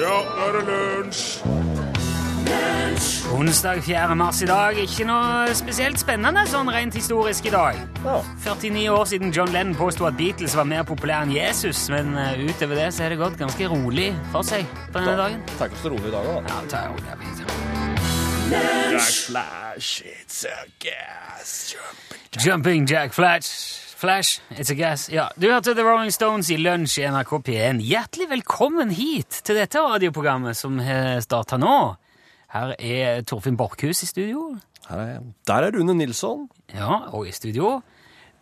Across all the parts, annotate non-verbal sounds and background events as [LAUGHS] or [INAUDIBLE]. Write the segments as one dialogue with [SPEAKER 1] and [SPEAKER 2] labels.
[SPEAKER 1] Ja, nå er det lunsj!
[SPEAKER 2] Onsdag 4. mars i dag. Ikke noe spesielt spennende sånn rent historisk i dag. 49 år siden John Lennon påsto at Beatles var mer populære enn Jesus, men eh, utover det så er det gått ganske rolig for seg på denne dagen.
[SPEAKER 3] Tenk oss det rolig i dag, da.
[SPEAKER 2] Ja, ta rolig, ja, Peter.
[SPEAKER 1] Flash, it's a gas.
[SPEAKER 2] Jumping Jack Flash. Flash, it's a gas. Ja, Du hørte The Rolling Stones i lunsj i NRK P1. Hjertelig velkommen hit til dette radioprogrammet som har starta nå. Her er Torfinn Borchhus i studio.
[SPEAKER 3] Her er jeg. Der er Rune Nilsson.
[SPEAKER 2] Ja, og i studio.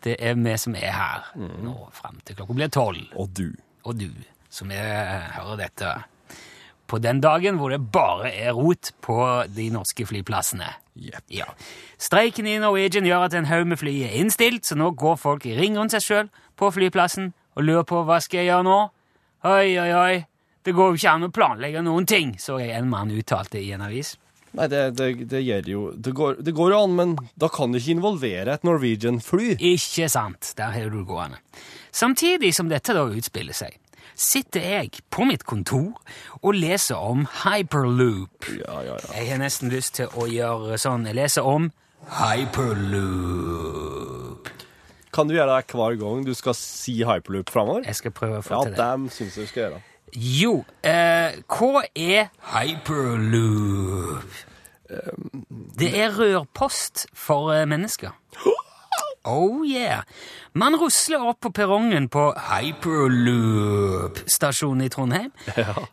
[SPEAKER 2] Det er vi som er her
[SPEAKER 1] Mm.
[SPEAKER 2] nå frem til klokka blir tolv.
[SPEAKER 3] Og du.
[SPEAKER 2] Og du som er, hører dette på den dagen hvor det bare er rot på de norske flyplassene.
[SPEAKER 3] Jepp.
[SPEAKER 2] Ja. Streiken i Norwegian gjør at en haug med fly er innstilt, så nå går folk i ring rundt seg sjøl på flyplassen og lurer på hva skal jeg gjøre nå? Oi, oi, oi. Det går jo ikke an å planlegge noen ting, så jeg en mann uttalte i en avis.
[SPEAKER 3] Nei, det, det, det gjør jo det går, det går jo an, men da kan det ikke involvere et Norwegian-fly.
[SPEAKER 2] Ikke sant. Der har du det gående. Samtidig som dette da utspiller seg, sitter jeg på mitt kontor og leser om hyperloop.
[SPEAKER 3] Ja, ja, ja.
[SPEAKER 2] Jeg har nesten lyst til å gjøre sånn. Jeg leser om hyperloop.
[SPEAKER 3] Kan du gjøre det hver gang du skal si hyperloop framover?
[SPEAKER 2] Jeg skal prøve å
[SPEAKER 3] Ja,
[SPEAKER 2] få til det.
[SPEAKER 3] dem syns jeg du skal gjøre.
[SPEAKER 2] Jo, eh, hva er hyperloop? Det er rørpost for eh,
[SPEAKER 3] [GASPS]
[SPEAKER 2] mennesker. Oh yeah! Man rusler opp på perrongen på Hyperloop-stasjonen i
[SPEAKER 3] [LAUGHS]
[SPEAKER 2] Trondheim,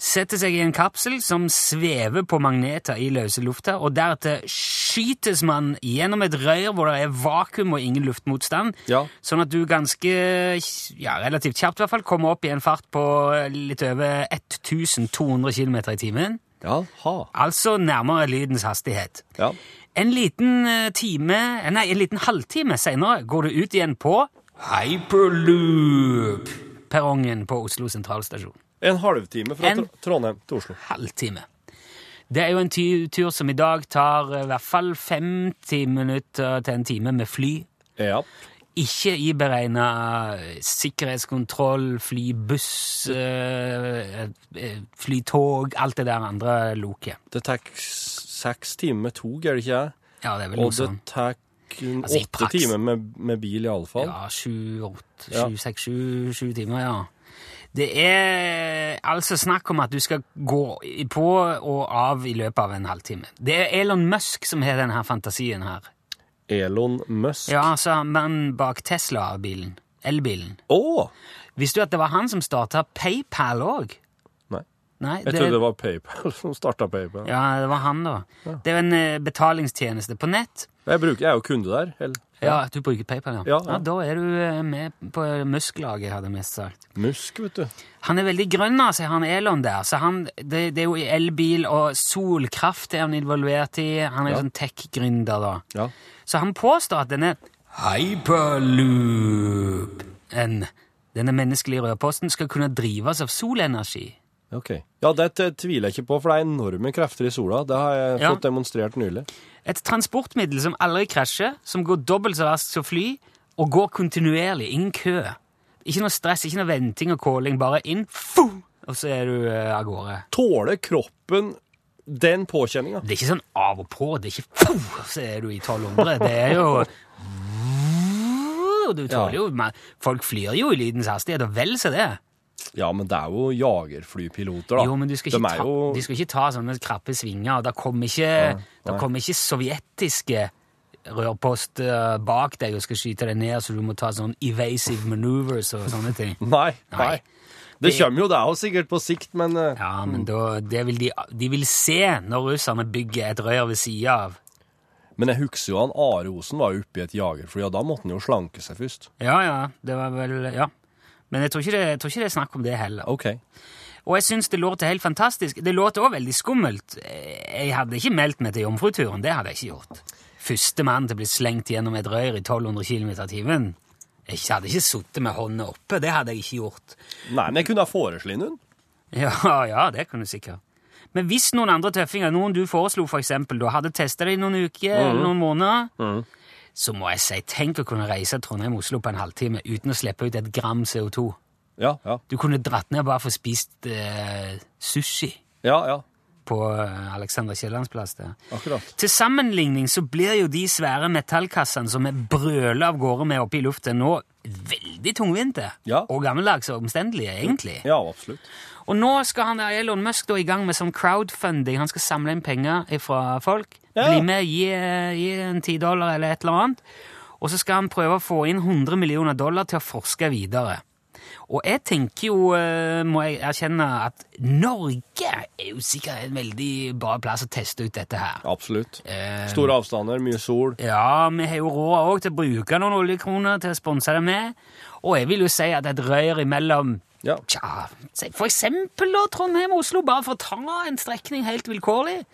[SPEAKER 2] setter seg i en kapsel som svever på magneter i løse lufta, og deretter skytes man gjennom et rør hvor det er vakuum og ingen luftmotstand,
[SPEAKER 3] Ja.
[SPEAKER 2] sånn at du ganske, ja, relativt kjapt i hvert fall, kommer opp i en fart på eh, litt over 1200 km i timen,
[SPEAKER 3] Ja, ha.
[SPEAKER 2] altså nærmere lydens hastighet.
[SPEAKER 3] Ja.
[SPEAKER 2] En liten eh, time, nei, en liten halvtime senere går du ut igjen på Hyperloop-perrongen på Oslo sentralstasjon.
[SPEAKER 3] En halvtime fra
[SPEAKER 2] En-
[SPEAKER 3] Tr- Trondheim til Oslo.
[SPEAKER 2] Halvtime. Det er jo en ty- tur som i dag tar eh, i hvert fall 50 minutter til en time med fly.
[SPEAKER 3] Ja.
[SPEAKER 2] Ikke iberegna sikkerhetskontroll, flybuss, eh, eh, flytog, alt det der andre loket.
[SPEAKER 3] Det tar s- seks timer med tog, er det ikke jeg?
[SPEAKER 2] Ja, det er vel
[SPEAKER 3] Og
[SPEAKER 2] noe
[SPEAKER 3] det
[SPEAKER 2] sånn.
[SPEAKER 3] tar kun
[SPEAKER 2] Altså, i
[SPEAKER 3] åtte
[SPEAKER 2] praks-
[SPEAKER 3] timer med, med bil, iallfall.
[SPEAKER 2] Ja, sju, åtte,
[SPEAKER 3] Ja.
[SPEAKER 2] sju, seks, sju, sju timer, ja. Det er altså snakk om at du skal gå i- på og av i løpet av en halvtime. Det er Elon Musk som har denne her fantasien her.
[SPEAKER 3] Elon Musk.
[SPEAKER 2] Ja, altså mannen bak Tesla-bilen. Elbilen.
[SPEAKER 3] Å!
[SPEAKER 2] Visste du at det var han som starta PayPal òg?
[SPEAKER 3] Nei.
[SPEAKER 2] Nei,
[SPEAKER 3] Jeg trodde det var PayPal som starta PayPal.
[SPEAKER 2] Ja, det var han, da. Det er jo en eh, betalingstjeneste på nett.
[SPEAKER 3] Jeg, bruker, jeg er jo kunde der. Eller
[SPEAKER 2] Ja, Du bruker PayPal, ja.
[SPEAKER 3] Ja, ja.
[SPEAKER 2] ja da er du eh, med på Musk-laget, hadde jeg mest sagt.
[SPEAKER 3] Musk, vet du.
[SPEAKER 2] Han er veldig grønn, altså, han Elon der. Så han, det, det er jo i elbil og solkraft er han involvert i. Han er
[SPEAKER 3] Ja.
[SPEAKER 2] sånn tech-gründer, da.
[SPEAKER 3] Ja.
[SPEAKER 2] Så han påstår at denne hyperloopen, denne menneskelige rødposten, skal kunne drives av solenergi.
[SPEAKER 3] Ok. Ja, det t- tviler jeg ikke på, for det er enorme krefter i sola. Det har jeg
[SPEAKER 2] Ja.
[SPEAKER 3] fått demonstrert nylig.
[SPEAKER 2] Et transportmiddel som aldri krasjer, som går dobbelt så raskt som fly, og går kontinuerlig, ingen kø. Ikke noe stress, ikke noe venting og calling, bare inn, fu, og så er du eh, av gårde.
[SPEAKER 3] Tåler kroppen den påkjenninga?
[SPEAKER 2] Det er ikke sånn av og på, det er ikke «Pow!» så er du i 1200. Det er jo Du tåler jo men Folk flyr jo i lydens hastighet, og vel så det.
[SPEAKER 3] Ja, men det er jo jagerflypiloter, da.
[SPEAKER 2] Jo, men du skal ikke,
[SPEAKER 3] De er
[SPEAKER 2] ta,
[SPEAKER 3] jo
[SPEAKER 2] de skal ikke ta sånne krappe svinger, og da kommer ikke, da
[SPEAKER 3] nei.
[SPEAKER 2] kommer ikke sovjetiske rørpost eh, bak deg og skal skyte deg ned, så du må ta sånn evasive maneuvers og sånne ting.
[SPEAKER 3] Nei. nei.
[SPEAKER 2] Nei.
[SPEAKER 3] Det
[SPEAKER 2] Det-
[SPEAKER 3] kommer jo det òg, sikkert, på sikt, men eh,
[SPEAKER 2] Ja, men da, det vil de, de vil se når russerne bygger et rør ved sida av.
[SPEAKER 3] Men jeg husker jo han Are Osen var jo oppe i et jagerfly, og da måtte han jo slanke seg først.
[SPEAKER 2] Ja, ja, det var vel Ja. Men jeg tror ikke det, jeg tror ikke det er snakk om det heller.
[SPEAKER 3] Ok.
[SPEAKER 2] Og jeg syns det låter helt fantastisk. Det låter òg veldig skummelt. Eh, Jeg hadde ikke meldt meg til Jomfruturen. Det hadde jeg ikke gjort. Første mann til å bli slengt gjennom et rør i 1200 km i timen. Jeg hadde ikke sittet med hånda oppe. Det hadde jeg ikke gjort. [LAUGHS]
[SPEAKER 3] Nei, men jeg kunne ha foreslått noen.
[SPEAKER 2] Ja, ja, det kunne du sikkert. Men hvis noen andre tøffinger, noen du foreslo for eksempel, da hadde testa det i noen uker eller noen måneder, så må jeg si tenk å kunne reise Trondheim-Oslo på en halvtime uten å slippe ut et gram CO2.
[SPEAKER 3] Ja, ja.
[SPEAKER 2] Du kunne dratt ned bare for å spist eh, sushi.
[SPEAKER 3] Ja, ja.
[SPEAKER 2] på eh, Alexander Kiellands plass der.
[SPEAKER 3] Akkurat.
[SPEAKER 2] Til sammenligning så blir jo de svære metallkassene som vi brøler av gårde med oppe i luften nå, veldig tungvinte
[SPEAKER 3] Ja.
[SPEAKER 2] og gammeldags og omstendelige, egentlig.
[SPEAKER 3] Ja, absolutt.
[SPEAKER 2] Og nå skal han der Elon Musk da i gang med sånn crowdfunding. Han skal samle inn penger fra folk.
[SPEAKER 3] Ja.
[SPEAKER 2] Bli med, gi, gi en ti dollar eller et eller annet. Og så skal han prøve å få inn 100 millioner dollar til å forske videre. Og jeg tenker jo, eh, må jeg erkjenne, at Norge er jo sikkert en veldig bra plass å teste ut dette her.
[SPEAKER 3] Absolutt.
[SPEAKER 2] Eh,
[SPEAKER 3] Store avstander, mye sol.
[SPEAKER 2] ja, vi har jo råd òg til å bruke noen oljekroner til å sponse det med. Og jeg vil jo si at et rør imellom
[SPEAKER 3] Ja.
[SPEAKER 2] Tja, se- for eksempel da Trondheim og Oslo, bare for å ta en strekning helt vilkårlig.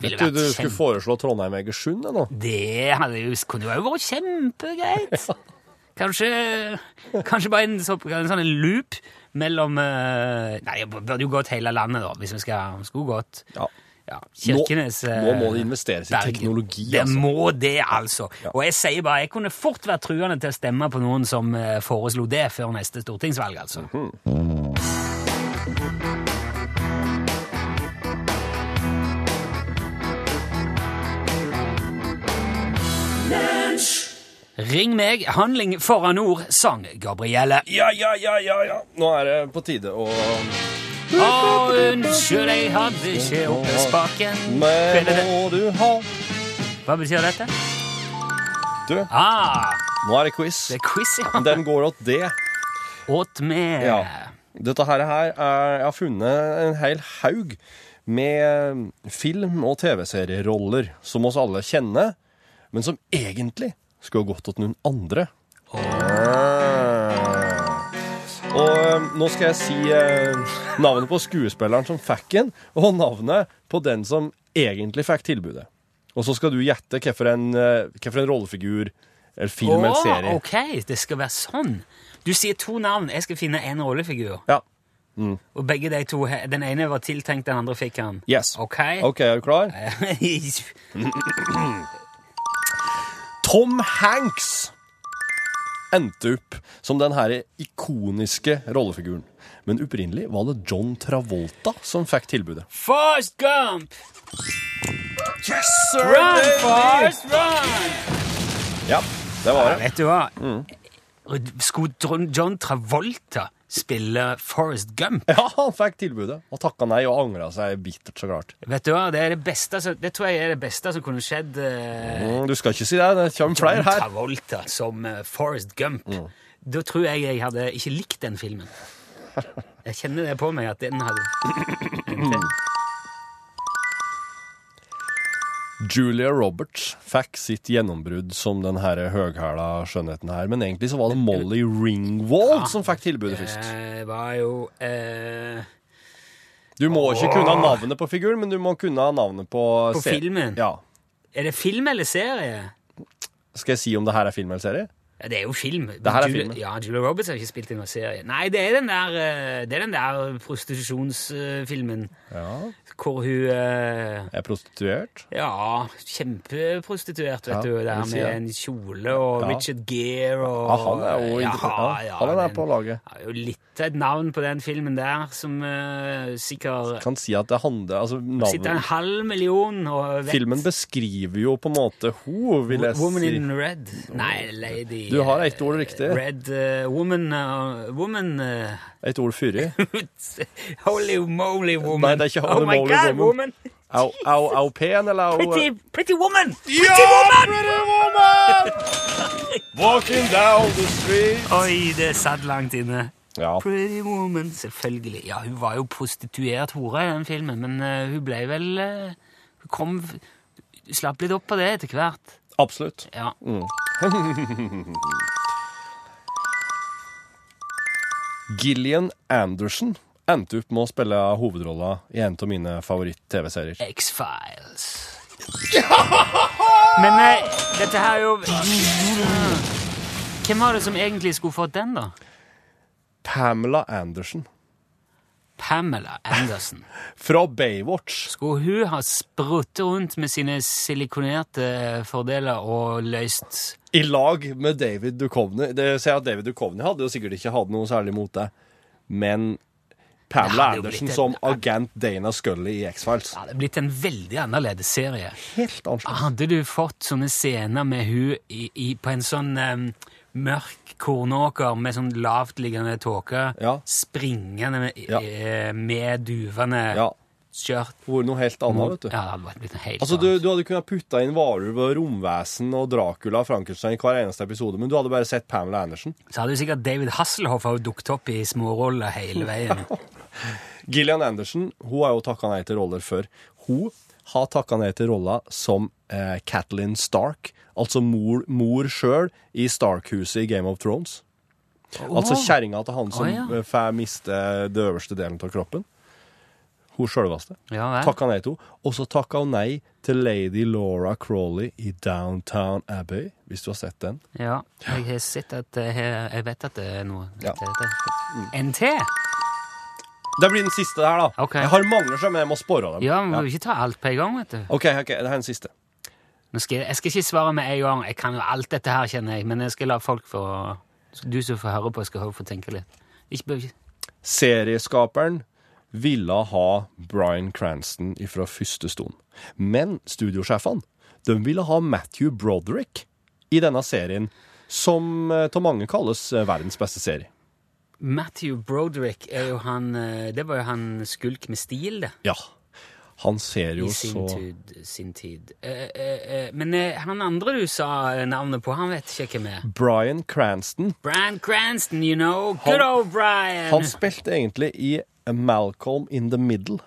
[SPEAKER 2] Ville
[SPEAKER 3] Du,
[SPEAKER 2] vært
[SPEAKER 3] du skulle
[SPEAKER 2] kjempe...
[SPEAKER 3] foreslå Trondheim-Egersund jeg, nå.
[SPEAKER 2] Det hadde jo, kunne jo vært
[SPEAKER 3] [LAUGHS]
[SPEAKER 2] kjempegreit. Kanskje, kanskje bare en, så, en sånn en loop mellom eh, Nei, det burde jo gått hele landet, da, hvis vi skal skulle gått
[SPEAKER 3] Ja.
[SPEAKER 2] ja, Kirkenes
[SPEAKER 3] Nå,
[SPEAKER 2] eh,
[SPEAKER 3] nå må det investeres i
[SPEAKER 2] Bergen.
[SPEAKER 3] teknologi,
[SPEAKER 2] Det
[SPEAKER 3] altså.
[SPEAKER 2] må det, altså. Og jeg sier bare, jeg kunne fort vært truende til å stemme på noen som eh, foreslo det før neste stortingsvalg, altså.
[SPEAKER 3] Mhm.
[SPEAKER 2] Ring meg, handling foran ord, sang Gabrielle.
[SPEAKER 3] Ja, ja, ja, ja, ja. Nå er det på tide å
[SPEAKER 2] Å, unnskyld, jeg hadde ikke oppe spaken.
[SPEAKER 3] Men
[SPEAKER 2] Hva
[SPEAKER 3] må du ha
[SPEAKER 2] betyr dette?
[SPEAKER 3] Du,
[SPEAKER 2] Ah,
[SPEAKER 3] nå er det quiz.
[SPEAKER 2] det er quiz, ja.
[SPEAKER 3] Den går åt det.
[SPEAKER 2] Åt med.
[SPEAKER 3] Ja. Dette her, her er Jeg har funnet en hel haug med eh, film- og TV-serieroller som oss alle kjenner, men som egentlig skulle ha gått til noen andre.
[SPEAKER 2] Ah.
[SPEAKER 3] Og eh, nå skal jeg si eh, navnet på skuespilleren som fikk den, og navnet på den som egentlig fikk tilbudet. Og så skal du gjette hvilken rollefigur eller film eller
[SPEAKER 2] Åh,
[SPEAKER 3] serie.
[SPEAKER 2] ok, det skal være sånn. Du sier to navn, jeg skal finne en rollefigur.
[SPEAKER 3] Ja.
[SPEAKER 2] Og begge de to, he- den ene var tiltenkt, den andre fikk han.
[SPEAKER 3] Yes.
[SPEAKER 2] Ok. [LAUGHS]
[SPEAKER 3] OK, er du klar? Tom Hanks endte opp som den her ikoniske rollefiguren. Men opprinnelig var det John Travolta som fikk tilbudet.
[SPEAKER 2] Forrest Gump!
[SPEAKER 3] Yes,
[SPEAKER 2] Run, Forrest, run!
[SPEAKER 3] Ja, det var det.
[SPEAKER 2] Vet du hva?
[SPEAKER 3] Mm.
[SPEAKER 2] Skulle Dr- John Travolta spille Forrest Gump?
[SPEAKER 3] Ja, han fikk tilbudet og takka nei og angra seg bittert, så klart.
[SPEAKER 2] Vet du hva, det, er det, beste, som- det tror jeg er det beste som kunne skjedd eh,
[SPEAKER 3] Mm, Du skal ikke si det, det kommer flere
[SPEAKER 2] John
[SPEAKER 3] her. Mm.
[SPEAKER 2] Travolta som eh, Forrest Gump. Da tror jeg jeg hadde ikke likt den
[SPEAKER 3] [LAUGHS]
[SPEAKER 2] filmen. Jeg kjenner det på meg at den hadde
[SPEAKER 3] Julia Roberts fikk sitt gjennombrudd som den her høghæla skjønnheten her, men egentlig så var det Molly Ringwald som fikk tilbudet først.
[SPEAKER 2] eh, var jo eh,
[SPEAKER 3] Du må ikke kunne navnet på figuren, men du må kunne navnet på
[SPEAKER 2] På
[SPEAKER 3] se-
[SPEAKER 2] filmen?
[SPEAKER 3] Ja.
[SPEAKER 2] Er det film eller serie?
[SPEAKER 3] Skal jeg si om det her er film eller serie?
[SPEAKER 2] Ja, det er jo film.
[SPEAKER 3] her er
[SPEAKER 2] Julia-
[SPEAKER 3] filmen.
[SPEAKER 2] Ja, Julia Roberts har ikke spilt i noen serie. Nei, det er den der, eh, det er den der prostitusjonsfilmen eh,
[SPEAKER 3] Ja.
[SPEAKER 2] hvor hun eh,
[SPEAKER 3] Er prostituert?
[SPEAKER 2] Ja, kjempeprostituert, vet
[SPEAKER 3] Ja,
[SPEAKER 2] du. Der
[SPEAKER 3] det
[SPEAKER 2] med
[SPEAKER 3] sier jeg.
[SPEAKER 2] en kjole og
[SPEAKER 3] Ja.
[SPEAKER 2] Richard Gere og
[SPEAKER 3] Ja, han er jo interessant. Ja, han er der
[SPEAKER 2] men-
[SPEAKER 3] på laget.
[SPEAKER 2] Ja, jo litt av et navn på den filmen der som eh, sikkert
[SPEAKER 3] Kan si at det handler Altså,
[SPEAKER 2] sitter en
[SPEAKER 3] navnet
[SPEAKER 2] halv million og vet
[SPEAKER 3] Filmen beskriver jo på en måte ho, vil jeg
[SPEAKER 2] Woman
[SPEAKER 3] si.
[SPEAKER 2] in red. Nei, lady
[SPEAKER 3] Du har
[SPEAKER 2] eh,
[SPEAKER 3] ett ord riktig.
[SPEAKER 2] Red eh, woman eh, Woman eh, [LAUGHS]
[SPEAKER 3] Et ord fyrig.
[SPEAKER 2] Holy moly woman.
[SPEAKER 3] Nei, det er ikke holy
[SPEAKER 2] oh my
[SPEAKER 3] moly
[SPEAKER 2] God,
[SPEAKER 3] woman.
[SPEAKER 2] woman.
[SPEAKER 3] Au, au, au pen, eller au
[SPEAKER 2] Pretty, pretty woman!
[SPEAKER 1] Ja, pretty woman! Walking down the street.
[SPEAKER 2] Oi, det satt langt inne.
[SPEAKER 3] Ja.
[SPEAKER 2] Pretty Woman, selvfølgelig. Ja, hun var jo prostituert hore i den filmen, men eh, hun ble vel eh, Hun kom Slapp litt opp på det etter hvert.
[SPEAKER 3] Absolutt.
[SPEAKER 2] Ja.
[SPEAKER 3] Gillian Anderson endte opp med å spille hovedrolla i en av mine favoritt-TV-serier.
[SPEAKER 2] X-Files.
[SPEAKER 3] [LAUGHS]
[SPEAKER 2] Men eh, dette her er jo Hvem var det som egentlig skulle fått den, da?
[SPEAKER 3] Pamela Anderson
[SPEAKER 2] Pamela Anderson.
[SPEAKER 3] fra Baywatch.
[SPEAKER 2] Skulle hun ha spruttet rundt med sine silikonerte fordeler og løst
[SPEAKER 3] I lag med David Duchovny. Det ser jeg at David Duchovny hadde jo sikkert ikke hatt noe særlig mot det, men
[SPEAKER 2] Det
[SPEAKER 3] Pamela
[SPEAKER 2] hadde jo blitt
[SPEAKER 3] Andersen
[SPEAKER 2] en-
[SPEAKER 3] som agent Dana Scully i X-Files.
[SPEAKER 2] Det hadde blitt en veldig annerledes serie.
[SPEAKER 3] Helt annerledes.
[SPEAKER 2] Hadde du fått sånne scener med hun i, i, på en sånn em, mørk kornåker med sånn lavtliggende tåke,
[SPEAKER 3] Ja.
[SPEAKER 2] springende med,
[SPEAKER 3] Ja.
[SPEAKER 2] eh, med duvende
[SPEAKER 3] Ja.
[SPEAKER 2] skjørt
[SPEAKER 3] Hun var noe helt annet, vet du.
[SPEAKER 2] Ja, det hadde vært blitt noe helt
[SPEAKER 3] Altså, du,
[SPEAKER 2] annet.
[SPEAKER 3] du hadde kunnet putta inn varulv og romvesen og Dracula og Frankenstein i hver eneste episode, men du hadde bare sett Pamela Andersen.
[SPEAKER 2] Så hadde jo sikkert David Hasselhoff også dukket opp i småroller hele veien.
[SPEAKER 3] Gillian Andersen hun har jo takka nei til roller før. Hun har takka nei til roller som eh, Catelyn Stark, altså mor, mor sjøl i Stark-huset i Game of Thrones. [LAUGHS] Altså kjerringa til han som
[SPEAKER 2] Å, ja.
[SPEAKER 3] eh, får miste det øverste delen av kroppen. Hun sjølveste.
[SPEAKER 2] Ja, vel.
[SPEAKER 3] Takka nei til henne. Og så takka hun nei til lady Laura Crawley i Downtown Abbey, hvis du har sett den.
[SPEAKER 2] Ja, jeg har sett at det her- Jeg vet at det er noe
[SPEAKER 3] Ja.
[SPEAKER 2] det- det- NT?
[SPEAKER 3] Det blir den siste her, da.
[SPEAKER 2] Ok.
[SPEAKER 3] Jeg har mangler som jeg må spore dem.
[SPEAKER 2] Ja, vi må jo ikke ta alt på en gang, vet du.
[SPEAKER 3] OK, ok, det her er den siste.
[SPEAKER 2] Nå skal jeg, jeg skal ikke svare med en gang. Jeg kan jo alt dette her, kjenner jeg, men jeg skal la folk få Du som får høre på, skal få tenke litt. Ikke, bør ikke-
[SPEAKER 3] Serieskaperen ville ha Bryan Cranston fra første stund. Men studiosjefene de ville ha Matthew Broderick i denne serien, som eh, av mange kalles eh, verdens beste serie.
[SPEAKER 2] Matthew Broderick er jo han eh, Det var jo han skulk med stil, det.
[SPEAKER 3] Ja. Han ser jo
[SPEAKER 2] I
[SPEAKER 3] så
[SPEAKER 2] sin tid. Sin tid. Eh, eh, eh, men eh, han andre du sa eh, navnet på, han vet ikke hvem er.
[SPEAKER 3] Bryan Cranston
[SPEAKER 2] Brian Cranston, you know.
[SPEAKER 3] Han-
[SPEAKER 2] Good old Brian!
[SPEAKER 3] Han spilte egentlig i Malcolm in the Middle.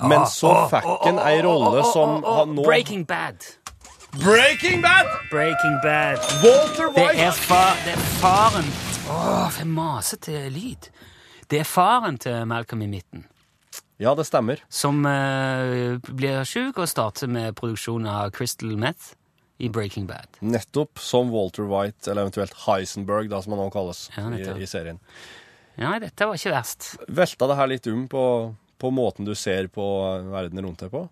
[SPEAKER 3] Men
[SPEAKER 2] Ah,
[SPEAKER 3] så fikk han ei rolle som han nå
[SPEAKER 2] Breaking Bad.
[SPEAKER 3] Breaking Bad!
[SPEAKER 2] Breaking Bad.
[SPEAKER 3] Walter
[SPEAKER 2] Det er,
[SPEAKER 3] White!
[SPEAKER 2] fa det er faren Åh, for en masete lyd. Det er faren til Malcolm i midten
[SPEAKER 3] Ja, det stemmer.
[SPEAKER 2] som eh, blir sjuk og starter med produksjon av Crystal Meth i Breaking Bad.
[SPEAKER 3] Nettopp som Walter White, eller eventuelt Heisenberg, da, som han også kalles
[SPEAKER 2] Ja, nettopp.
[SPEAKER 3] i, i serien.
[SPEAKER 2] Ja, dette var ikke verst.
[SPEAKER 3] Velta det her litt um på, på måten du ser på verden rundt deg på?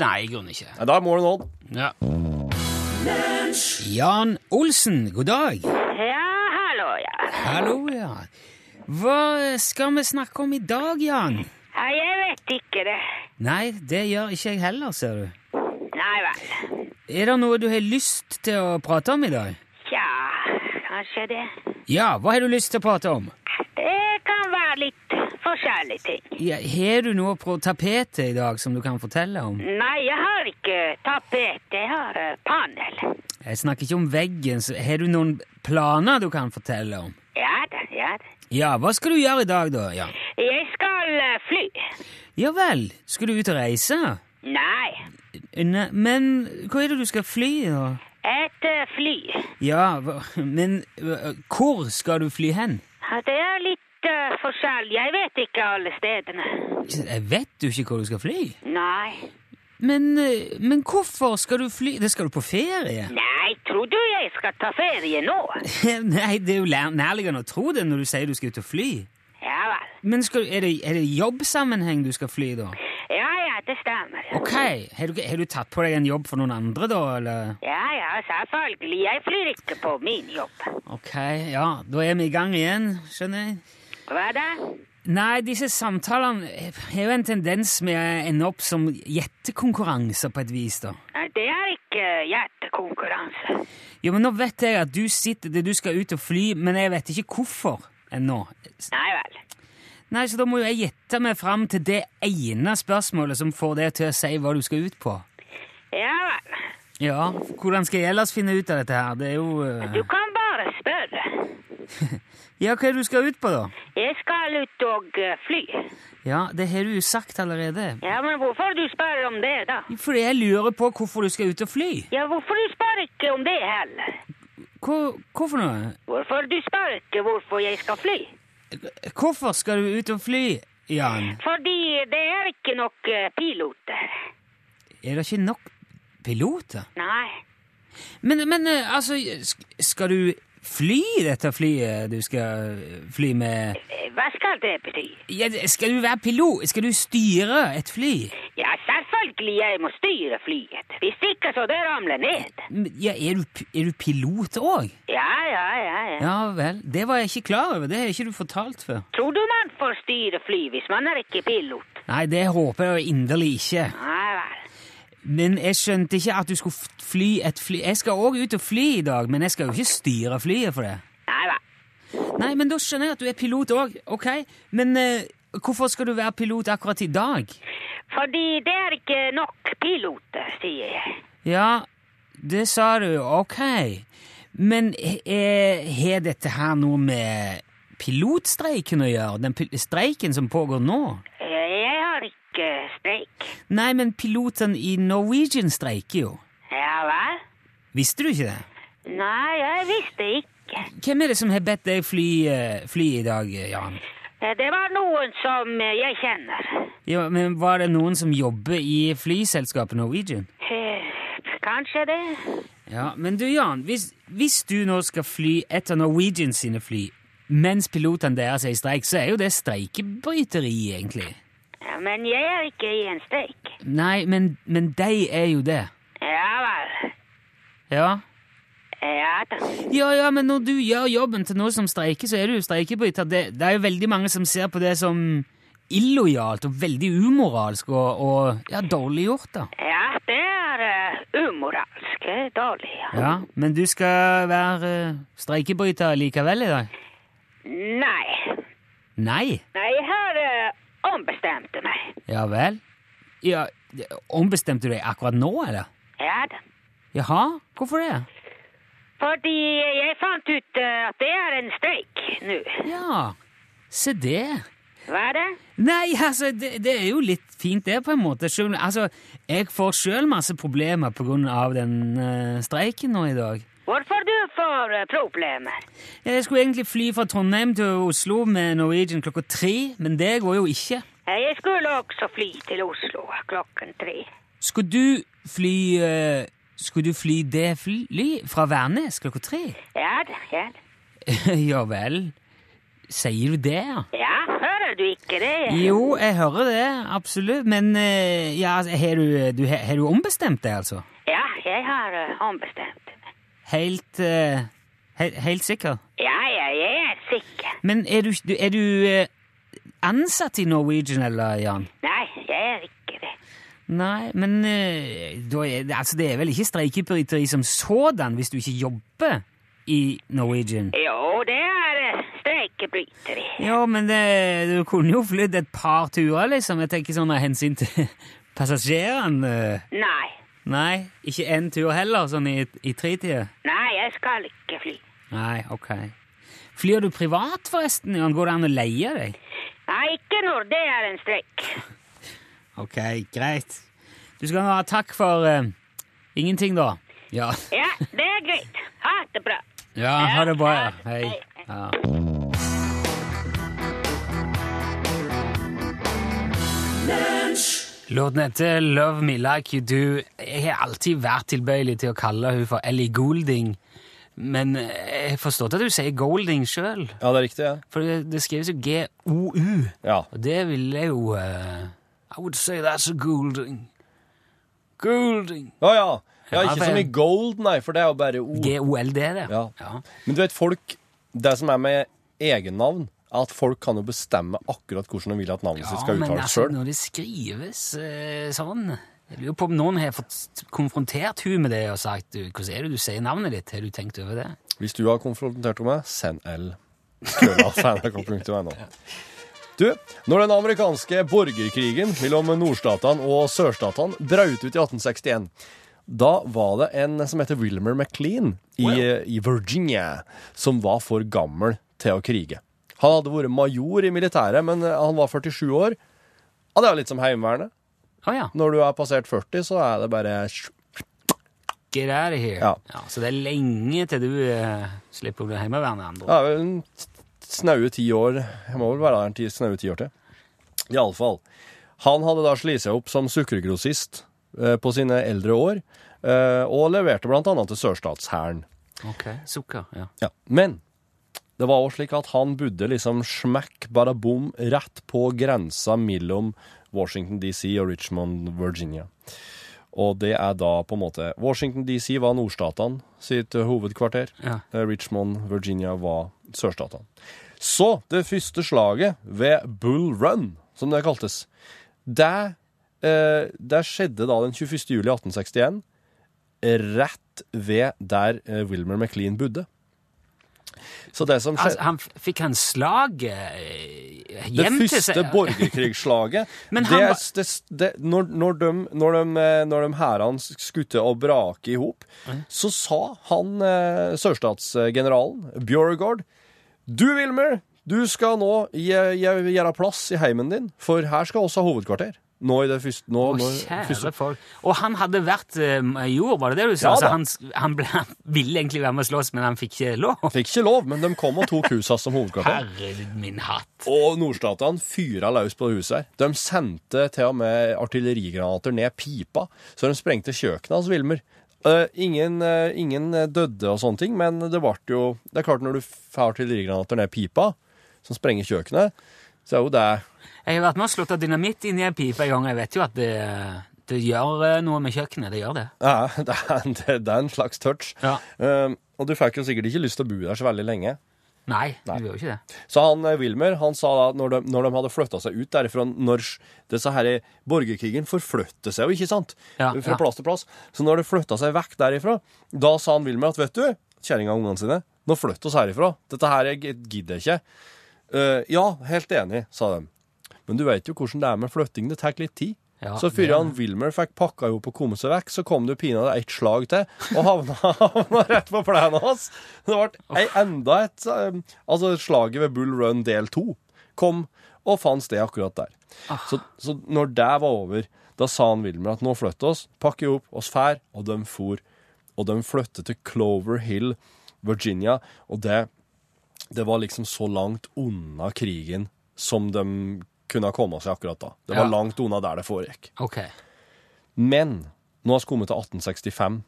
[SPEAKER 2] Nei, i grunnen ikke.
[SPEAKER 3] Nei, Da er målet nådd.
[SPEAKER 2] Ja. Jan Olsen, god dag.
[SPEAKER 4] Ja, hallo, ja.
[SPEAKER 2] Hallo, ja. Hva skal vi snakke om i dag, Jan?
[SPEAKER 4] ja. Jeg vet ikke det.
[SPEAKER 2] Nei, det gjør ikke jeg heller, ser du.
[SPEAKER 4] Nei vel.
[SPEAKER 2] Er det noe du har lyst til å prate om i dag?
[SPEAKER 4] Tja, kanskje det.
[SPEAKER 2] Ja, hva har du lyst til å prate om?
[SPEAKER 4] Det kan være litt forskjellige ting.
[SPEAKER 2] Ja, har du noe på tapetet i dag som du kan fortelle om?
[SPEAKER 4] Nei, jeg har ikke tapet. Jeg har eh, panel.
[SPEAKER 2] Jeg snakker ikke om veggen, så har du noen planer du kan fortelle om?
[SPEAKER 4] Ja da, ja da.
[SPEAKER 2] Ja, hva skal du gjøre i dag da, Jan?
[SPEAKER 4] Jeg skal eh, fly.
[SPEAKER 2] Ja vel, skal du ut og reise?
[SPEAKER 4] Nei,
[SPEAKER 2] Nei, men hva er det du skal fly da?
[SPEAKER 4] et eh, fly.
[SPEAKER 2] Ja, hva- men øh, hvor skal du fly hen?
[SPEAKER 4] Ja, Det er litt eh, forskjellig. Jeg vet ikke alle stedene.
[SPEAKER 2] Jeg vet jo ikke hvor du skal fly.
[SPEAKER 4] Nei.
[SPEAKER 2] Men, øh, men hvorfor skal du fly? Det skal du på ferie? [LAUGHS]
[SPEAKER 4] Nei, tror du jeg skal ta ferie nå?
[SPEAKER 2] Nei, det er jo lær- nærliggende å tro det når du sier du skal ut og fly.
[SPEAKER 4] Ja vel.
[SPEAKER 2] Men skal, er, det, er det jobbsammenheng du skal fly, da?
[SPEAKER 4] Ja, ja, det stemmer.
[SPEAKER 2] Ok, Har du, har du tatt på deg en jobb for noen andre, da? eller?
[SPEAKER 4] Ja, ja, selvfølgelig. Jeg flyr ikke på min jobb.
[SPEAKER 2] Ok, ja, Da er vi i gang igjen, skjønner jeg.
[SPEAKER 4] Hva da?
[SPEAKER 2] Nei, disse samtalene har jo en tendens med å ende opp som gjettekonkurranser på et vis, da.
[SPEAKER 4] Det er ikke hjertekonkurranse.
[SPEAKER 2] Jo, men nå vet jeg at du sitter der du skal ut og fly, men jeg vet ikke hvorfor ennå.
[SPEAKER 4] Nei vel.
[SPEAKER 2] Nei, så da må jo jeg gjette meg fram til det ene spørsmålet som får deg til å si hva du skal ut på.
[SPEAKER 4] Ja vel.
[SPEAKER 2] Ja, hvordan skal jeg ellers finne ut av dette her? Det er jo eh,
[SPEAKER 4] Du kan bare spørre.
[SPEAKER 2] Ja, hva er det du skal ut på, da?
[SPEAKER 4] Jeg skal ut og eh, fly.
[SPEAKER 2] Ja, det har du jo sagt allerede.
[SPEAKER 4] Ja, men hvorfor du spør om det, da?
[SPEAKER 2] Fordi jeg lurer på hvorfor du skal ut og fly.
[SPEAKER 4] Ja, hvorfor du spør ikke om det heller?
[SPEAKER 2] Hva, hvorfor noe?
[SPEAKER 4] Hvorfor du spør ikke hvorfor jeg skal fly?
[SPEAKER 2] Hvorfor skal du ut og fly, Jan?
[SPEAKER 4] Fordi det er ikke nok eh, piloter.
[SPEAKER 2] Er det ikke nok piloter?
[SPEAKER 4] Nei.
[SPEAKER 2] Men, men eh, altså, sk- skal du fly i dette flyet du skal fly med?
[SPEAKER 4] Eh, Hva skal det bety?
[SPEAKER 2] Ja, skal du være pilot? Skal du styre et fly?
[SPEAKER 4] Ja, selvfølgelig jeg må styre flyet. Hvis ikke så det ramler ned.
[SPEAKER 2] Ja, er du, p- er du pilot òg?
[SPEAKER 4] Ja, ja, ja, ja.
[SPEAKER 2] Ja vel, det var jeg ikke klar over. Det har ikke du fortalt før.
[SPEAKER 4] Tror du man for å styre fly hvis man er ikke pilot.
[SPEAKER 2] Nei, det håper jeg inderlig ikke.
[SPEAKER 4] Nei vel.
[SPEAKER 2] Men jeg skjønte ikke at du skulle f- fly et fly. Jeg skal òg ut og fly i dag, men jeg skal jo ikke styre flyet for det.
[SPEAKER 4] Nei vel.
[SPEAKER 2] Nei, men da skjønner jeg at du er pilot òg. Ok, men eh, hvorfor skal du være pilot akkurat i dag?
[SPEAKER 4] Fordi det er ikke nok piloter, sier jeg.
[SPEAKER 2] Ja, det sa du. Ok. Men eh, har dette her noe med pilotstreiken å gjøre? Den pil streiken som pågår nå?
[SPEAKER 4] Eh, Jeg har ikke streik.
[SPEAKER 2] Nei, men pilotene i Norwegian streiker jo.
[SPEAKER 4] Ja vel?
[SPEAKER 2] Visste du ikke det?
[SPEAKER 4] Nei, jeg visste ikke.
[SPEAKER 2] Hvem er det som har bedt deg fly, eh, fly i dag, Jan?
[SPEAKER 4] Eh, Det var noen som jeg kjenner.
[SPEAKER 2] Ja, men Var det noen som jobber i flyselskapet Norwegian?
[SPEAKER 4] Eh, Kanskje det.
[SPEAKER 2] Ja, Men du, Jan, hvis, hvis du nå skal fly et av Norwegian sine fly mens pilotene deres er i streik, så er jo det streikebryteri, egentlig.
[SPEAKER 4] Ja, Men jeg er ikke i en streik.
[SPEAKER 2] Nei, men, men de er jo det.
[SPEAKER 4] Ja vel.
[SPEAKER 2] Ja.
[SPEAKER 4] Ja da.
[SPEAKER 2] ja, ja, men når du gjør jobben til noen som streiker, så er du jo streikebryter. Det, det er jo veldig mange som ser på det som illojalt og veldig umoralsk og, og ja, dårlig gjort, da.
[SPEAKER 4] Ja, det er eh, umoralsk. eh, Dårlig. ja.
[SPEAKER 2] Ja, Men du skal være eh, streikebryter likevel i dag?
[SPEAKER 4] Nei.
[SPEAKER 2] Nei?
[SPEAKER 4] Nei, jeg har eh, ombestemt meg.
[SPEAKER 2] Ja vel? Ja, Ombestemte du deg akkurat nå, eller?
[SPEAKER 4] Ja da.
[SPEAKER 2] Jaha? Hvorfor det?
[SPEAKER 4] Fordi jeg fant ut eh, at det er en streik nå.
[SPEAKER 2] Ja, se det.
[SPEAKER 4] Hva er det?
[SPEAKER 2] Nei, altså, det, det er jo litt fint det, på en måte. Selv, altså, jeg får sjøl masse problemer på grunn av den eh, streiken nå i dag.
[SPEAKER 4] Hvorfor du får eh, problemer?
[SPEAKER 2] Jeg skulle egentlig fly fra Trondheim til Oslo med Norwegian klokka tre, men det går jo ikke.
[SPEAKER 4] Eh, Jeg skulle også fly til Oslo klokken tre.
[SPEAKER 2] Skulle du fly eh, Skulle du fly det fly fra Værnes klokka tre? [LAUGHS]
[SPEAKER 4] Ja da, ja da.
[SPEAKER 2] ja vel. Sier du det, ja?
[SPEAKER 4] Ja, hører du ikke det?
[SPEAKER 2] Jo, jeg hører det, absolutt, men eh, ja, altså, har du, du, har du ombestemt deg, altså?
[SPEAKER 4] Ja, jeg har eh, ombestemt meg.
[SPEAKER 2] Helt, eh, he, helt sikker?
[SPEAKER 4] Ja, ja, jeg er sikker.
[SPEAKER 2] Men er du, du- er du eh, ansatt i Norwegian, eller, Jan?
[SPEAKER 4] Nei, jeg er ikke det.
[SPEAKER 2] Nei, men eh, da er, det- altså, det er vel ikke streikebryteri som sådan hvis du ikke jobber i Norwegian?
[SPEAKER 4] Jo, det er eh, streikebryteri.
[SPEAKER 2] Ja, men det, du kunne jo flydd et par turer, liksom. Jeg tenker sånn av hensyn til [LAUGHS] passasjerene.
[SPEAKER 4] Nei,
[SPEAKER 2] Nei, ikke én tur heller, sånn i, i tretida.
[SPEAKER 4] nei, jeg skal ikke fly.
[SPEAKER 2] Nei, ok. Flyr du privat, forresten? Jan? Går det an å leie deg?
[SPEAKER 4] Nei, ikke når det er en streik.
[SPEAKER 2] Ok, greit. Du skal ha takk for eh, ingenting, da. Ja.
[SPEAKER 4] Ja, det er greit. Ha det bra.
[SPEAKER 2] ja, ha det bra. ja. Hei. Ja. Låten heter Love Me Like You Do. Jeg har alltid vært tilbøyelig til å kalle hun for Ellie Goulding, men eh, jeg har forstått at du sier Golding sjøl,
[SPEAKER 3] Ja, det er riktig, ja.
[SPEAKER 2] for det, det skrives jo G-O-U.
[SPEAKER 3] ja.
[SPEAKER 2] Og det ville jo eh, I would say that's a Goulding. Goulding.
[SPEAKER 3] Å ja. ja.
[SPEAKER 2] Ja, for-
[SPEAKER 3] Ikke som i gold, nei, for det er jo bare ord.
[SPEAKER 2] G-O-L-D, det.
[SPEAKER 3] Ja. Men du vet, folk Det som er med egennavn, er at folk kan jo bestemme akkurat hvordan de vil at navnet
[SPEAKER 2] Ja,
[SPEAKER 3] sitt skal
[SPEAKER 2] men
[SPEAKER 3] uttales
[SPEAKER 2] altså,
[SPEAKER 3] sjøl.
[SPEAKER 2] når det skrives eh, sånn Jeg lurer på om noen har fått konfrontert hun med det og sagt du, 'Hvordan er det du sier navnet ditt?' Har du tenkt over det?
[SPEAKER 3] Hvis du har konfrontert henne med, send L. [LAUGHS] Krølla, fanaka.no. Du, når den amerikanske borgerkrigen mellom nordstatene og sørstatene brøt ut i 1861, da var det en som heter Wilmer McLean i, i Virginia, som var for gammel til å krige. Han hadde vært major i militæret, men eh, han var 47 år. Ja, det er jo litt som Heimevernet.
[SPEAKER 2] Å ja.
[SPEAKER 3] Når du er passert 40, så er det bare
[SPEAKER 2] Get out of here.
[SPEAKER 3] Ja.
[SPEAKER 2] så det er lenge til du eh, slipper å bli hjemmeværende. Andre.
[SPEAKER 3] Det er vel en snaue ti år Jeg må vel være der en ti, snaue ti år til. Iallfall. Han hadde da slitt seg opp som sukkergrossist eh, på sine eldre år, eh, og leverte blant annet til sørstatshæren.
[SPEAKER 2] Ok, Sukker. ja.
[SPEAKER 3] Ja. Men det var også slik at han bodde liksom smekk bare bom rett på grensa mellom Washington DC og Richmond, Virginia. Og det er da på en måte Washington DC var nordstatene sitt hovedkvarter.
[SPEAKER 2] Ja.
[SPEAKER 3] Eh, Richmond, Virginia var sørstatene. Så det første slaget ved Bull Run, som det kaltes, det, eh, det skjedde da den 21. juli 1861, rett ved der eh, Wilmer McLean bodde. Så det som skjedde
[SPEAKER 2] Altså, han f- fikk han slaget eh,
[SPEAKER 3] det
[SPEAKER 2] hjem til seg?
[SPEAKER 3] første borgerkrigsslaget
[SPEAKER 2] [LAUGHS] Men
[SPEAKER 3] det,
[SPEAKER 2] han
[SPEAKER 3] er-
[SPEAKER 2] var-
[SPEAKER 3] det, det, når, når de, når de, eh, når de hærene skutte og brake i hop,
[SPEAKER 2] Mm.
[SPEAKER 3] så sa han eh, sørstatsgeneralen Bjørgård Du, Wilmer, du skal nå gje- gje- gjøre plass i heimen din, for her skal oss ha hovedkvarter. Nå i det første, nå,
[SPEAKER 2] Å,
[SPEAKER 3] nå,
[SPEAKER 2] Kjære
[SPEAKER 3] første
[SPEAKER 2] folk. Og han hadde vært eh, major, var det det du sa?
[SPEAKER 3] Ja da.
[SPEAKER 2] så han, s- han, ble, han ville egentlig være med og slåss, men han fikk ikke lov.
[SPEAKER 3] Fikk ikke lov, men de kom og tok huset hans som hovedkvarter.
[SPEAKER 2] Herre min hatt.
[SPEAKER 3] Og nordstatene fyra løs på huset her. De sendte til og med artillerigranater ned pipa, så de sprengte kjøkkenet hans, Wilmer. Eh, ingen, eh, ingen døde og sånne ting, men det ble jo Det er klart, når du får artillerigranater ned pipa, som sprenger kjøkkenet, så er jo det [LAUGHS]
[SPEAKER 2] Jeg har vært med og slått av dynamitt inn i en pipe en gang. Jeg vet jo at det, det gjør eh, noe med kjøkkenet. Det gjør det.
[SPEAKER 3] Ja, det er, en- det er en slags touch.
[SPEAKER 2] Ja.
[SPEAKER 3] Eh, og du fikk jo sikkert ikke lyst til å bo der så veldig lenge.
[SPEAKER 2] Nei, det gjør jo ikke det.
[SPEAKER 3] Så han eh, Wilmer han sa da at når de, når de hadde flytta seg ut derifra Når s- disse her borgerkrigen forflytter seg jo, ikke sant?
[SPEAKER 2] Ja, ja.
[SPEAKER 3] Fra plass til plass. Så når det flytta seg vekk derifra, da sa han Wilmer at vet du, kjerringa og ungene sine, nå flytt oss herifra. Dette her jeg gidder jeg ikke. «Eh, ja, helt enig, sa de. Men du veit jo hvordan det er med flytting. Det tar litt tid.
[SPEAKER 2] Ja,
[SPEAKER 3] så før
[SPEAKER 2] det-
[SPEAKER 3] han Wilmer fikk pakka ihop og kommet seg vekk, så kom det pinadø ett slag til, og havna, [LAUGHS] havna rett på plenen hans. Det ble ei, enda et eh, Altså, slaget ved Bull Run del to kom og fant sted akkurat der.
[SPEAKER 2] Ah.
[SPEAKER 3] Så, så når det var over, da sa han Wilmer at nå flytter oss, pakker ihop, oss fær, og de for. Og de flyttet til Clover Hill, Virginia, og det det var liksom så langt unna krigen som de kunne ha kommet seg akkurat da. Det var
[SPEAKER 2] Ja.
[SPEAKER 3] langt unna der det foregikk.
[SPEAKER 2] Ok.
[SPEAKER 3] Men nå har vi kommet til 1865.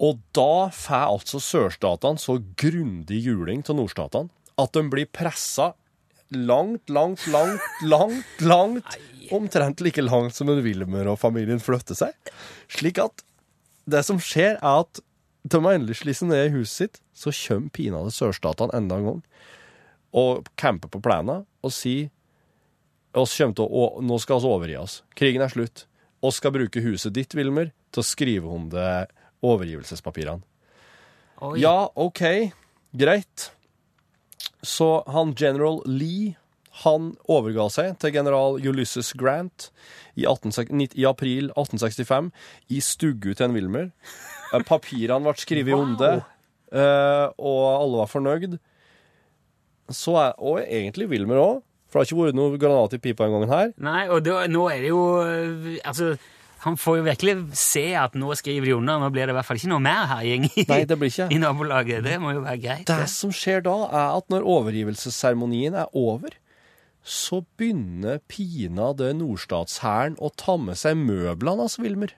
[SPEAKER 3] Og da får altså sørstatene så grundig juling til nordstatene at de blir pressa langt, langt, langt, langt, langt Omtrent like langt som en Wilmer og familien flytter seg. Slik at det som skjer, er at de har endelig slitt seg ned i huset sitt, så kommer pinadø sørstatene enda en gang og camper på plena og sier oss kommer til å, å, nå skal vi overgi oss. Krigen er slutt. Oss skal bruke huset ditt, Wilmer, til å skrive om det overgivelsespapirene.
[SPEAKER 2] Oi.
[SPEAKER 3] Ja, OK, greit. Så han general Lee, han overga seg til general Ulysses Grant i, 18, nitt- i april 1865 i stugu til en Wilmer. Eh, Papirene ble skrevet om det, eh, og alle var fornøyd. Så er, og egentlig Wilmer òg, for det har ikke vært noe granat i pipa denne gangen her.
[SPEAKER 2] Nei, og da, nå er det jo eh, Altså, han får jo virkelig se at nå skriver de under. Nå blir det i hvert fall ikke noe mer herjing i,
[SPEAKER 3] Nei, det blir ikke.
[SPEAKER 2] [LAUGHS] i nabolaget. Det må jo være greit.
[SPEAKER 3] Det som skjer da, er at når overgivelsesseremonien er over, så begynner pinadø nordstatshæren å ta med seg møblene hans, Wilmer.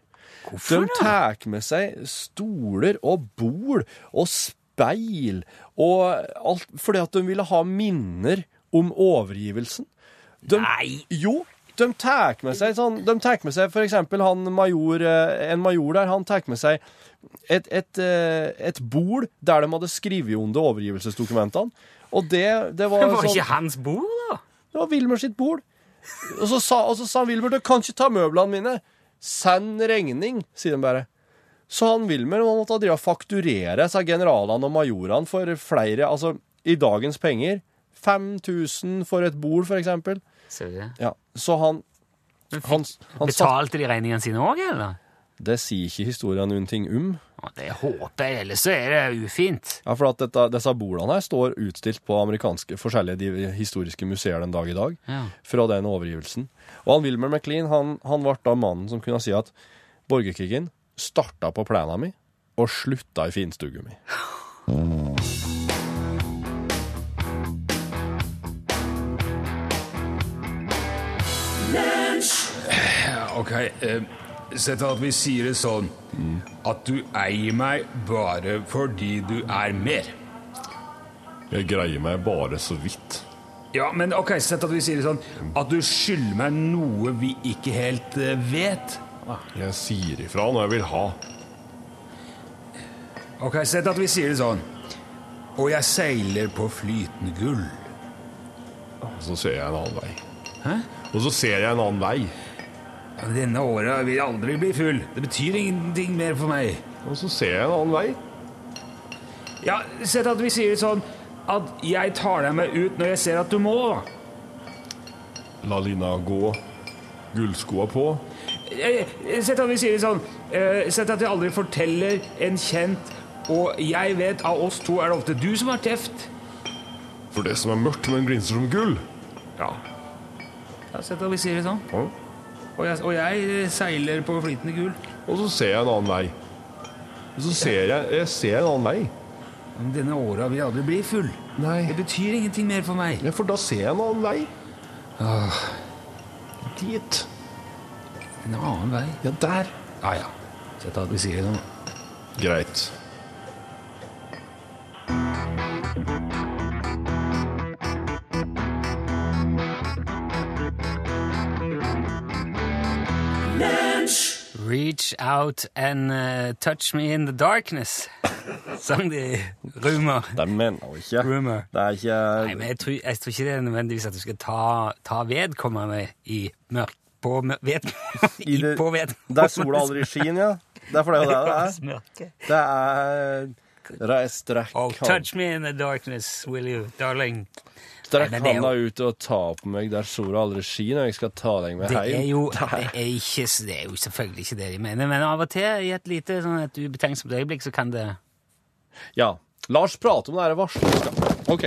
[SPEAKER 2] Hvorfor
[SPEAKER 3] De tar med seg stoler og bol og speil og alt fordi at de ville ha minner om overgivelsen. De,
[SPEAKER 2] Nei.
[SPEAKER 3] Jo, de tar med seg sånn De tar med seg for eksempel han major, eh, en major der, han tar med seg et, et, eh, et bol der de hadde skrevet under overgivelsesdokumentene. Og det, det var
[SPEAKER 2] Det [LAUGHS] var
[SPEAKER 3] sånn-
[SPEAKER 2] ikke hans bord, da?
[SPEAKER 3] det var Wilmer sitt bord. Og så sa, og så sa Wilmer, du kan ikke ta møblene mine. Send regning, sier de bare. Så han Wilmer han måtte drive og fakturere seg generalene og majorene for flere, altså i dagens penger, 5000 for et bord, for eksempel.
[SPEAKER 2] Ser du det?
[SPEAKER 3] Ja, så han... Han, han satt,
[SPEAKER 2] Betalte de regningene sine òg, eller?
[SPEAKER 3] det sier ikke historien noen ting om.
[SPEAKER 2] Å, Det håper jeg, ellers så er det ufint.
[SPEAKER 3] Ja, for at dette, disse bordene her står utstilt på amerikanske, forskjellige div- historiske museer den dag i dag,
[SPEAKER 2] Ja.
[SPEAKER 3] fra den overgivelsen. Og han Wilmer McLean, han, han ble da mannen som kunne si at borgerkrigen starta på plena mi og slutta i finstugu mi.
[SPEAKER 5] Ok, eh, sett at vi sier det sånn At du eier meg bare fordi du er mer
[SPEAKER 1] Jeg greier meg bare så vidt.
[SPEAKER 5] Ja, men ok, sett at vi sier det sånn At du skylder meg noe vi ikke helt eh, vet
[SPEAKER 1] Jeg sier ifra når jeg vil ha.
[SPEAKER 5] Ok, sett at vi sier det sånn og jeg seiler på flytende gull.
[SPEAKER 1] Og så ser jeg en annen vei.
[SPEAKER 5] Hæ?
[SPEAKER 1] Og så ser jeg en annen vei.
[SPEAKER 5] Men Denne åra vil jeg aldri bli full. Det betyr ingenting mer for meg.
[SPEAKER 1] Og så ser jeg en annen vei.
[SPEAKER 5] Ja, sett at vi sier det sånn at jeg tar deg med ut når jeg ser at du må. da.
[SPEAKER 1] La lina gå. Gullskoa på.
[SPEAKER 5] Eh, Sett at vi sier det sånn eh, Sett at jeg aldri forteller en kjent Og jeg vet av oss to er det ofte du som har teft
[SPEAKER 1] For det som er mørkt, men glinser som gull.
[SPEAKER 5] Ja ja, Sett at vi sier det sånn
[SPEAKER 1] Ja.
[SPEAKER 5] Og jeg, og jeg eh, seiler på flytende gul
[SPEAKER 1] Og så ser jeg en annen vei. Og så ser jeg, jeg ser en annen vei.
[SPEAKER 5] Men Denne åra vil jeg aldri bli full
[SPEAKER 1] Nei.
[SPEAKER 5] Det betyr ingenting mer for meg
[SPEAKER 1] Ja, for da ser jeg en annen vei. Dit.
[SPEAKER 5] En annen vei
[SPEAKER 1] Ja, der.
[SPEAKER 5] Ja, ja Sett at vi sier det sånn
[SPEAKER 1] Greit.
[SPEAKER 2] Reach out and eh, touch me in the darkness, sang de. Rumor.
[SPEAKER 3] Det mener hun ikke.
[SPEAKER 2] Rumor.
[SPEAKER 3] Det er ikke
[SPEAKER 2] Nei, men jeg tror, jeg tror ikke det er nødvendigvis at du skal ta, ta vedkommende i mørk... På mør- ved... I,
[SPEAKER 3] det-
[SPEAKER 2] på ved...
[SPEAKER 3] Der sola
[SPEAKER 2] [LAUGHS]
[SPEAKER 3] aldri skinner, ja. Det er for det det er.
[SPEAKER 2] Mørke.
[SPEAKER 3] Det er Reis, strekk
[SPEAKER 2] Oh,
[SPEAKER 3] hand-
[SPEAKER 2] touch me in the darkness, will you, darling?
[SPEAKER 3] strekk
[SPEAKER 2] Nei, men det er jo-
[SPEAKER 3] handa ut og ta på meg der sola aldri skinner, og jeg skal ta deg med
[SPEAKER 2] Det er,
[SPEAKER 3] hjem.
[SPEAKER 2] jo, det, er ikke, det er jo selvfølgelig ikke det de mener, men av og til i et lite sånn et ubetenksomt øyeblikk så kan det
[SPEAKER 3] Ja. Lars prater om det her varselskapet. OK.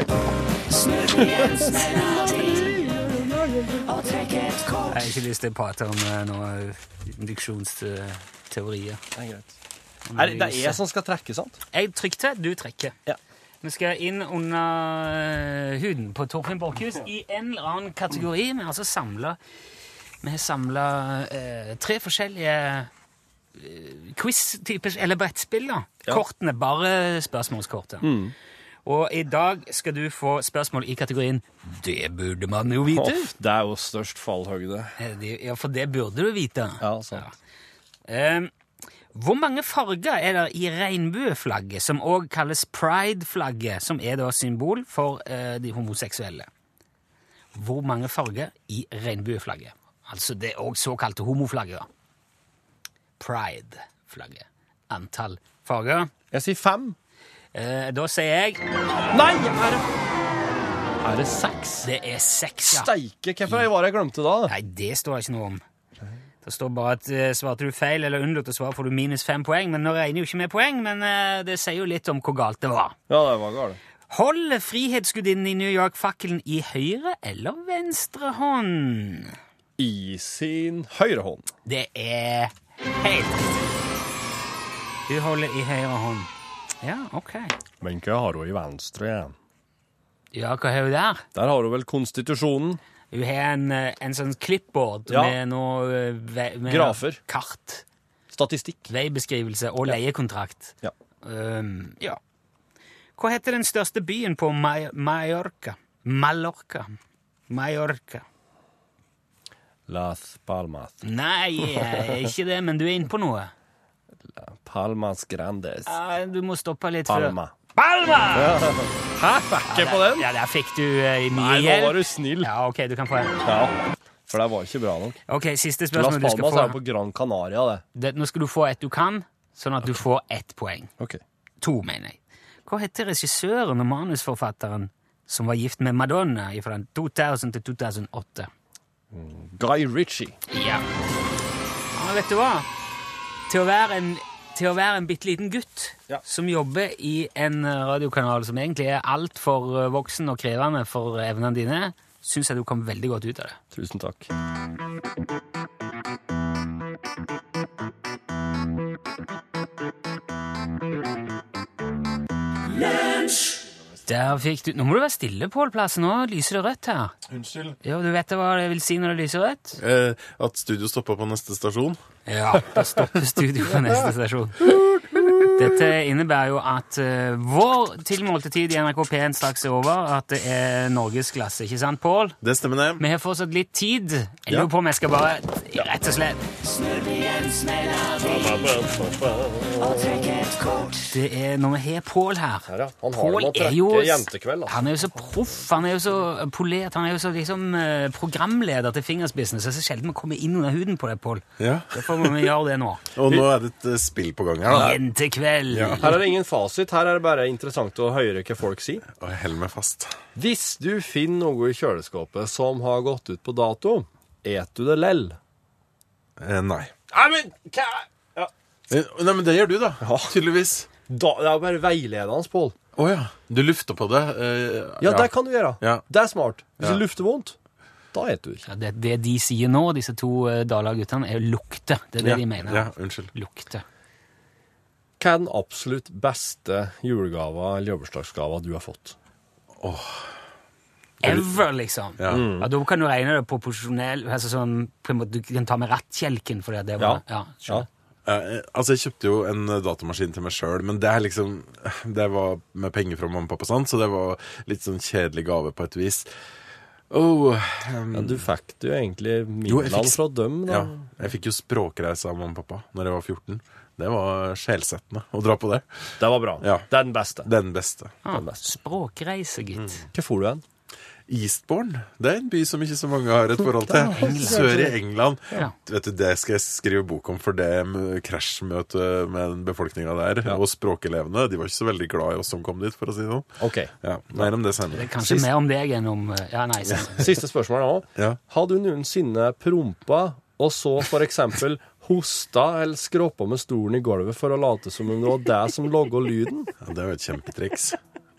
[SPEAKER 2] Jeg har ikke lyst til å prate om eh, noen induksjonsteorier.
[SPEAKER 3] Det er greit. Er, det- det er jeg som skal trekke, sant?
[SPEAKER 2] Jeg trykte, du trekker.
[SPEAKER 3] Ja.
[SPEAKER 2] Vi skal inn under eh, huden på Torfinn Borchhus i en eller annen kategori. Vi har altså samla Vi har samla tre forskjellige eh, quiz-typer Eller brettspill, da. Kortene. Bare spørsmålskortet.
[SPEAKER 3] Mm.
[SPEAKER 2] Og i dag skal du få spørsmål i kategorien 'Det burde man jo vite'.
[SPEAKER 3] Hoff, det er jo størst fallhøyde.
[SPEAKER 2] Eh, det- Ja, for det burde du vite.
[SPEAKER 3] Ja, sant.
[SPEAKER 2] Eh, hvor mange farger er det i regnbueflagget, som også kalles prideflagget, som er da symbol for eh, de homoseksuelle? Hvor mange farger i regnbueflagget? Altså det òg såkalte homoflagget. da. Pride-flagget. Antall farger.
[SPEAKER 3] Jeg sier fem.
[SPEAKER 2] Eh, da sier jeg
[SPEAKER 3] Nei! Er det, er det seks?
[SPEAKER 2] det er seks, ja.
[SPEAKER 3] Steike! Hvorfor var det jeg glemte da?
[SPEAKER 2] Nei, det står ikke noe om. Det står bare at eh, svarte du feil eller unnlot å svare, får du minus fem poeng. Men nå regner jo ikke med poeng, men eh, det sier jo litt om hvor galt det var.
[SPEAKER 3] Ja, det var galt.
[SPEAKER 2] Holder frihetsgudinnen i New York fakkelen i høyre eller venstre hånd?
[SPEAKER 3] I sin høyre hånd.
[SPEAKER 2] Det er helt riktig. Du holder i høyre hånd. Ja, ok.
[SPEAKER 3] Men hva har hun i venstre? Ja?
[SPEAKER 2] Ja, hva har hun der?
[SPEAKER 3] Der har hun vel konstitusjonen.
[SPEAKER 2] Hun har en, eh, en sånn clipboard
[SPEAKER 3] Ja.
[SPEAKER 2] med noe eh, ve- med
[SPEAKER 3] Grafer.
[SPEAKER 2] Kart,
[SPEAKER 3] Statistikk.
[SPEAKER 2] veibeskrivelse og leiekontrakt.
[SPEAKER 3] Ja.
[SPEAKER 2] Um, ja. Hva heter den største byen på Ma Mallorca? Mallorca. Mallorca.
[SPEAKER 3] Las Palmas.
[SPEAKER 2] Nei, eh, ikke det, men du er inne på noe.
[SPEAKER 3] Palmas Grandes.
[SPEAKER 2] Ja, du må stoppe litt før.
[SPEAKER 3] Palma.
[SPEAKER 2] Palma!
[SPEAKER 3] Hæ, fikk jeg på den?
[SPEAKER 2] Ja, der fikk du eh, mye
[SPEAKER 3] Nei, nå
[SPEAKER 2] hjelp.
[SPEAKER 3] var du snill.
[SPEAKER 2] Ja, ok, du kan få en.
[SPEAKER 3] Ja, for det var ikke bra nok.
[SPEAKER 2] Ok, siste
[SPEAKER 3] Las
[SPEAKER 2] spørsmål du skal
[SPEAKER 3] Palmas er jo
[SPEAKER 2] få.
[SPEAKER 3] på Gran Canaria, det.
[SPEAKER 2] Det, nå skal du få et du kan, sånn at du får ett poeng.
[SPEAKER 3] Ok.
[SPEAKER 2] To, mener jeg. Hva heter regissøren og manusforfatteren som var gift med Madonna fra 2000 til 2008?
[SPEAKER 3] Guy Ritchie.
[SPEAKER 2] Ja. ja vet du hva? Til å være en, til å være en bitte liten gutt
[SPEAKER 3] Ja.
[SPEAKER 2] som jobber i en eh, radiokanal som egentlig er altfor eh, voksen og krevende for eh, evnene dine, syns jeg du kom veldig godt ut av det.
[SPEAKER 3] Tusen takk.
[SPEAKER 2] Der fikk du... Nå må du være stille, Pål Plassen. Nå lyser det rødt her.
[SPEAKER 6] Unnskyld.
[SPEAKER 2] Ja, Du vet hva det vil si når det lyser rødt?
[SPEAKER 6] Eh, at studio stoppa på neste stasjon?
[SPEAKER 2] Ja. Da stopper studio på neste stasjon. Dette innebærer jo at eh, vår tilmålte tid i NRK P1 straks er over, at det er norgesklasse, ikke sant, Pål?
[SPEAKER 6] Det stemmer, det.
[SPEAKER 2] Vi har fortsatt litt tid. Jeg lurer på om jeg skal bare rett og slett Det er når vi har Pål her.
[SPEAKER 3] Her, ja. Han har
[SPEAKER 2] Pål
[SPEAKER 3] det med å
[SPEAKER 2] er jo
[SPEAKER 3] trekke jentekveld, altså.
[SPEAKER 2] Han er jo så proff, han er jo så polert, han er jo så liksom eh, programleder til fingersbissene, så det er så sjelden vi kommer inn under huden på deg, Pål.
[SPEAKER 6] Ja.
[SPEAKER 2] [LAUGHS] Derfor må vi gjøre det
[SPEAKER 6] [LAUGHS]
[SPEAKER 2] nå.
[SPEAKER 6] Og nå er det et eh, spill på gang her. da.
[SPEAKER 2] Jentekveld.
[SPEAKER 6] Ja.
[SPEAKER 3] Her er det ingen fasit, her er det bare interessant å høre hva folk sier.
[SPEAKER 6] Og jeg holder meg fast.
[SPEAKER 3] Hvis du finner noe i kjøleskapet som har gått ut på dato, et du det lell?
[SPEAKER 6] Eh, nei.
[SPEAKER 3] Nei, men hva?
[SPEAKER 6] Eh, Nei, men det gjør du, da. Tydeligvis.
[SPEAKER 3] Da, det er jo bare veiledende, Pål.
[SPEAKER 6] Å ja. Du lufter på det. eh,
[SPEAKER 3] Ja, det kan du gjøre.
[SPEAKER 6] Ja.
[SPEAKER 3] Det er smart. Hvis
[SPEAKER 6] Ja.
[SPEAKER 3] det lufter vondt, da eter du ikke.
[SPEAKER 2] Ja, det, det de sier nå, disse to eh, Dala-guttene, er lukte. Det er det
[SPEAKER 6] Ja,
[SPEAKER 2] de mener.
[SPEAKER 6] ja, unnskyld.
[SPEAKER 2] Lukte.
[SPEAKER 3] Hva er den absolutt beste julegava eller jobbersdagsgava du har fått?
[SPEAKER 2] Ever, liksom.
[SPEAKER 6] Ja.
[SPEAKER 2] Ja, da kan du regne det proporsjonell, altså sånn, på en måte, du kan ta med rattkjelken for det. det var, ja. skjønner.
[SPEAKER 6] Eh, altså, jeg kjøpte jo en eh, datamaskin til meg sjøl, men det er liksom [LAUGHS] Det var med penger fra mamma og pappa, sant? så det var litt sånn kjedelig gave på et vis. Oh, ehm,
[SPEAKER 3] Ja, du fikk det jo egentlig
[SPEAKER 6] Jo, jeg
[SPEAKER 3] midlene
[SPEAKER 6] fikk-
[SPEAKER 3] fra dem, da.
[SPEAKER 6] ja. Jeg fikk jo språkreise av mamma og pappa Når jeg var 14. Det var sjelsettende å dra på det.
[SPEAKER 3] Det var bra.
[SPEAKER 6] Ja.
[SPEAKER 3] Det er den beste.
[SPEAKER 6] Den beste.
[SPEAKER 2] Ah, språkreise, gitt.
[SPEAKER 3] Hva får du hen?
[SPEAKER 6] Eastbourne. Det er en by som ikke så mange har et forhold
[SPEAKER 2] [LAUGHS]
[SPEAKER 6] til. Sør i England.
[SPEAKER 2] Ja.
[SPEAKER 6] Vet du, Det skal jeg skrive bok om, for det m- krasjmøtet med befolkninga der, og språkelevene, de var ikke så veldig glad i oss som kom dit, for å si det sånn.
[SPEAKER 3] Ok.
[SPEAKER 6] Ja, Mer om det
[SPEAKER 2] Det
[SPEAKER 6] senere.
[SPEAKER 2] er kanskje mer om deg enn om eh, Ja, nei, sånn.
[SPEAKER 3] Siste spørsmål [LAUGHS] nå.
[SPEAKER 6] Ja.
[SPEAKER 3] Har du noensinne prompa og så for eksempel hosta eller skråpa med stolen i gulvet for å late som om det var det som logga lyden?
[SPEAKER 6] Ja, det er jo et kjempetriks.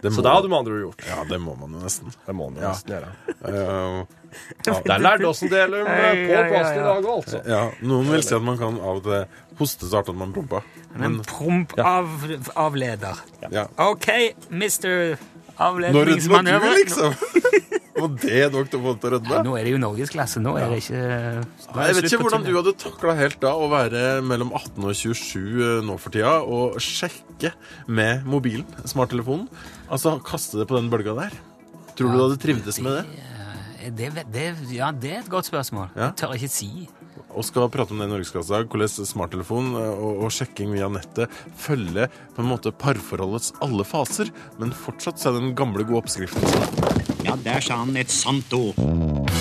[SPEAKER 6] Det
[SPEAKER 3] Så det hadde du med andre ord gjort.
[SPEAKER 6] Ja, det må man jo nesten.
[SPEAKER 3] Det må man
[SPEAKER 6] Ja.
[SPEAKER 3] nesten gjøre.
[SPEAKER 6] Eh,
[SPEAKER 3] Det er lærdomsdeler med eh, på plassen i dag, altså.
[SPEAKER 6] ja, Noen vil si at man kan av og til hoste så hardt at man promper.
[SPEAKER 2] En promp av, avleder.
[SPEAKER 6] Ja.
[SPEAKER 2] OK, mister Eh,
[SPEAKER 6] Når rødmer du,
[SPEAKER 2] avledningsmanøver.
[SPEAKER 6] liksom? [LAUGHS] Og det nok til å få til å rødme?
[SPEAKER 2] Nå er det jo norgesklasse. Nå er det ikke
[SPEAKER 6] Nei, Jeg vet ikke hvordan du hadde takla helt da å være mellom 18 og 27 nå for tida og sjekke med mobilen, smarttelefonen. Altså kaste det på den bølga der. Tror du du hadde trivdes med det?
[SPEAKER 2] det, vet- det, ja, det er et godt spørsmål.
[SPEAKER 6] Ja.
[SPEAKER 2] Jeg tør ikke si.
[SPEAKER 6] Og skal prate om det i Norgesklassa, hvordan smarttelefon eh, og, og sjekking via nettet følger på en måte parforholdets alle faser, men fortsatt så er den gamle gode oppskriften.
[SPEAKER 7] Ja, der sa han et sant ord.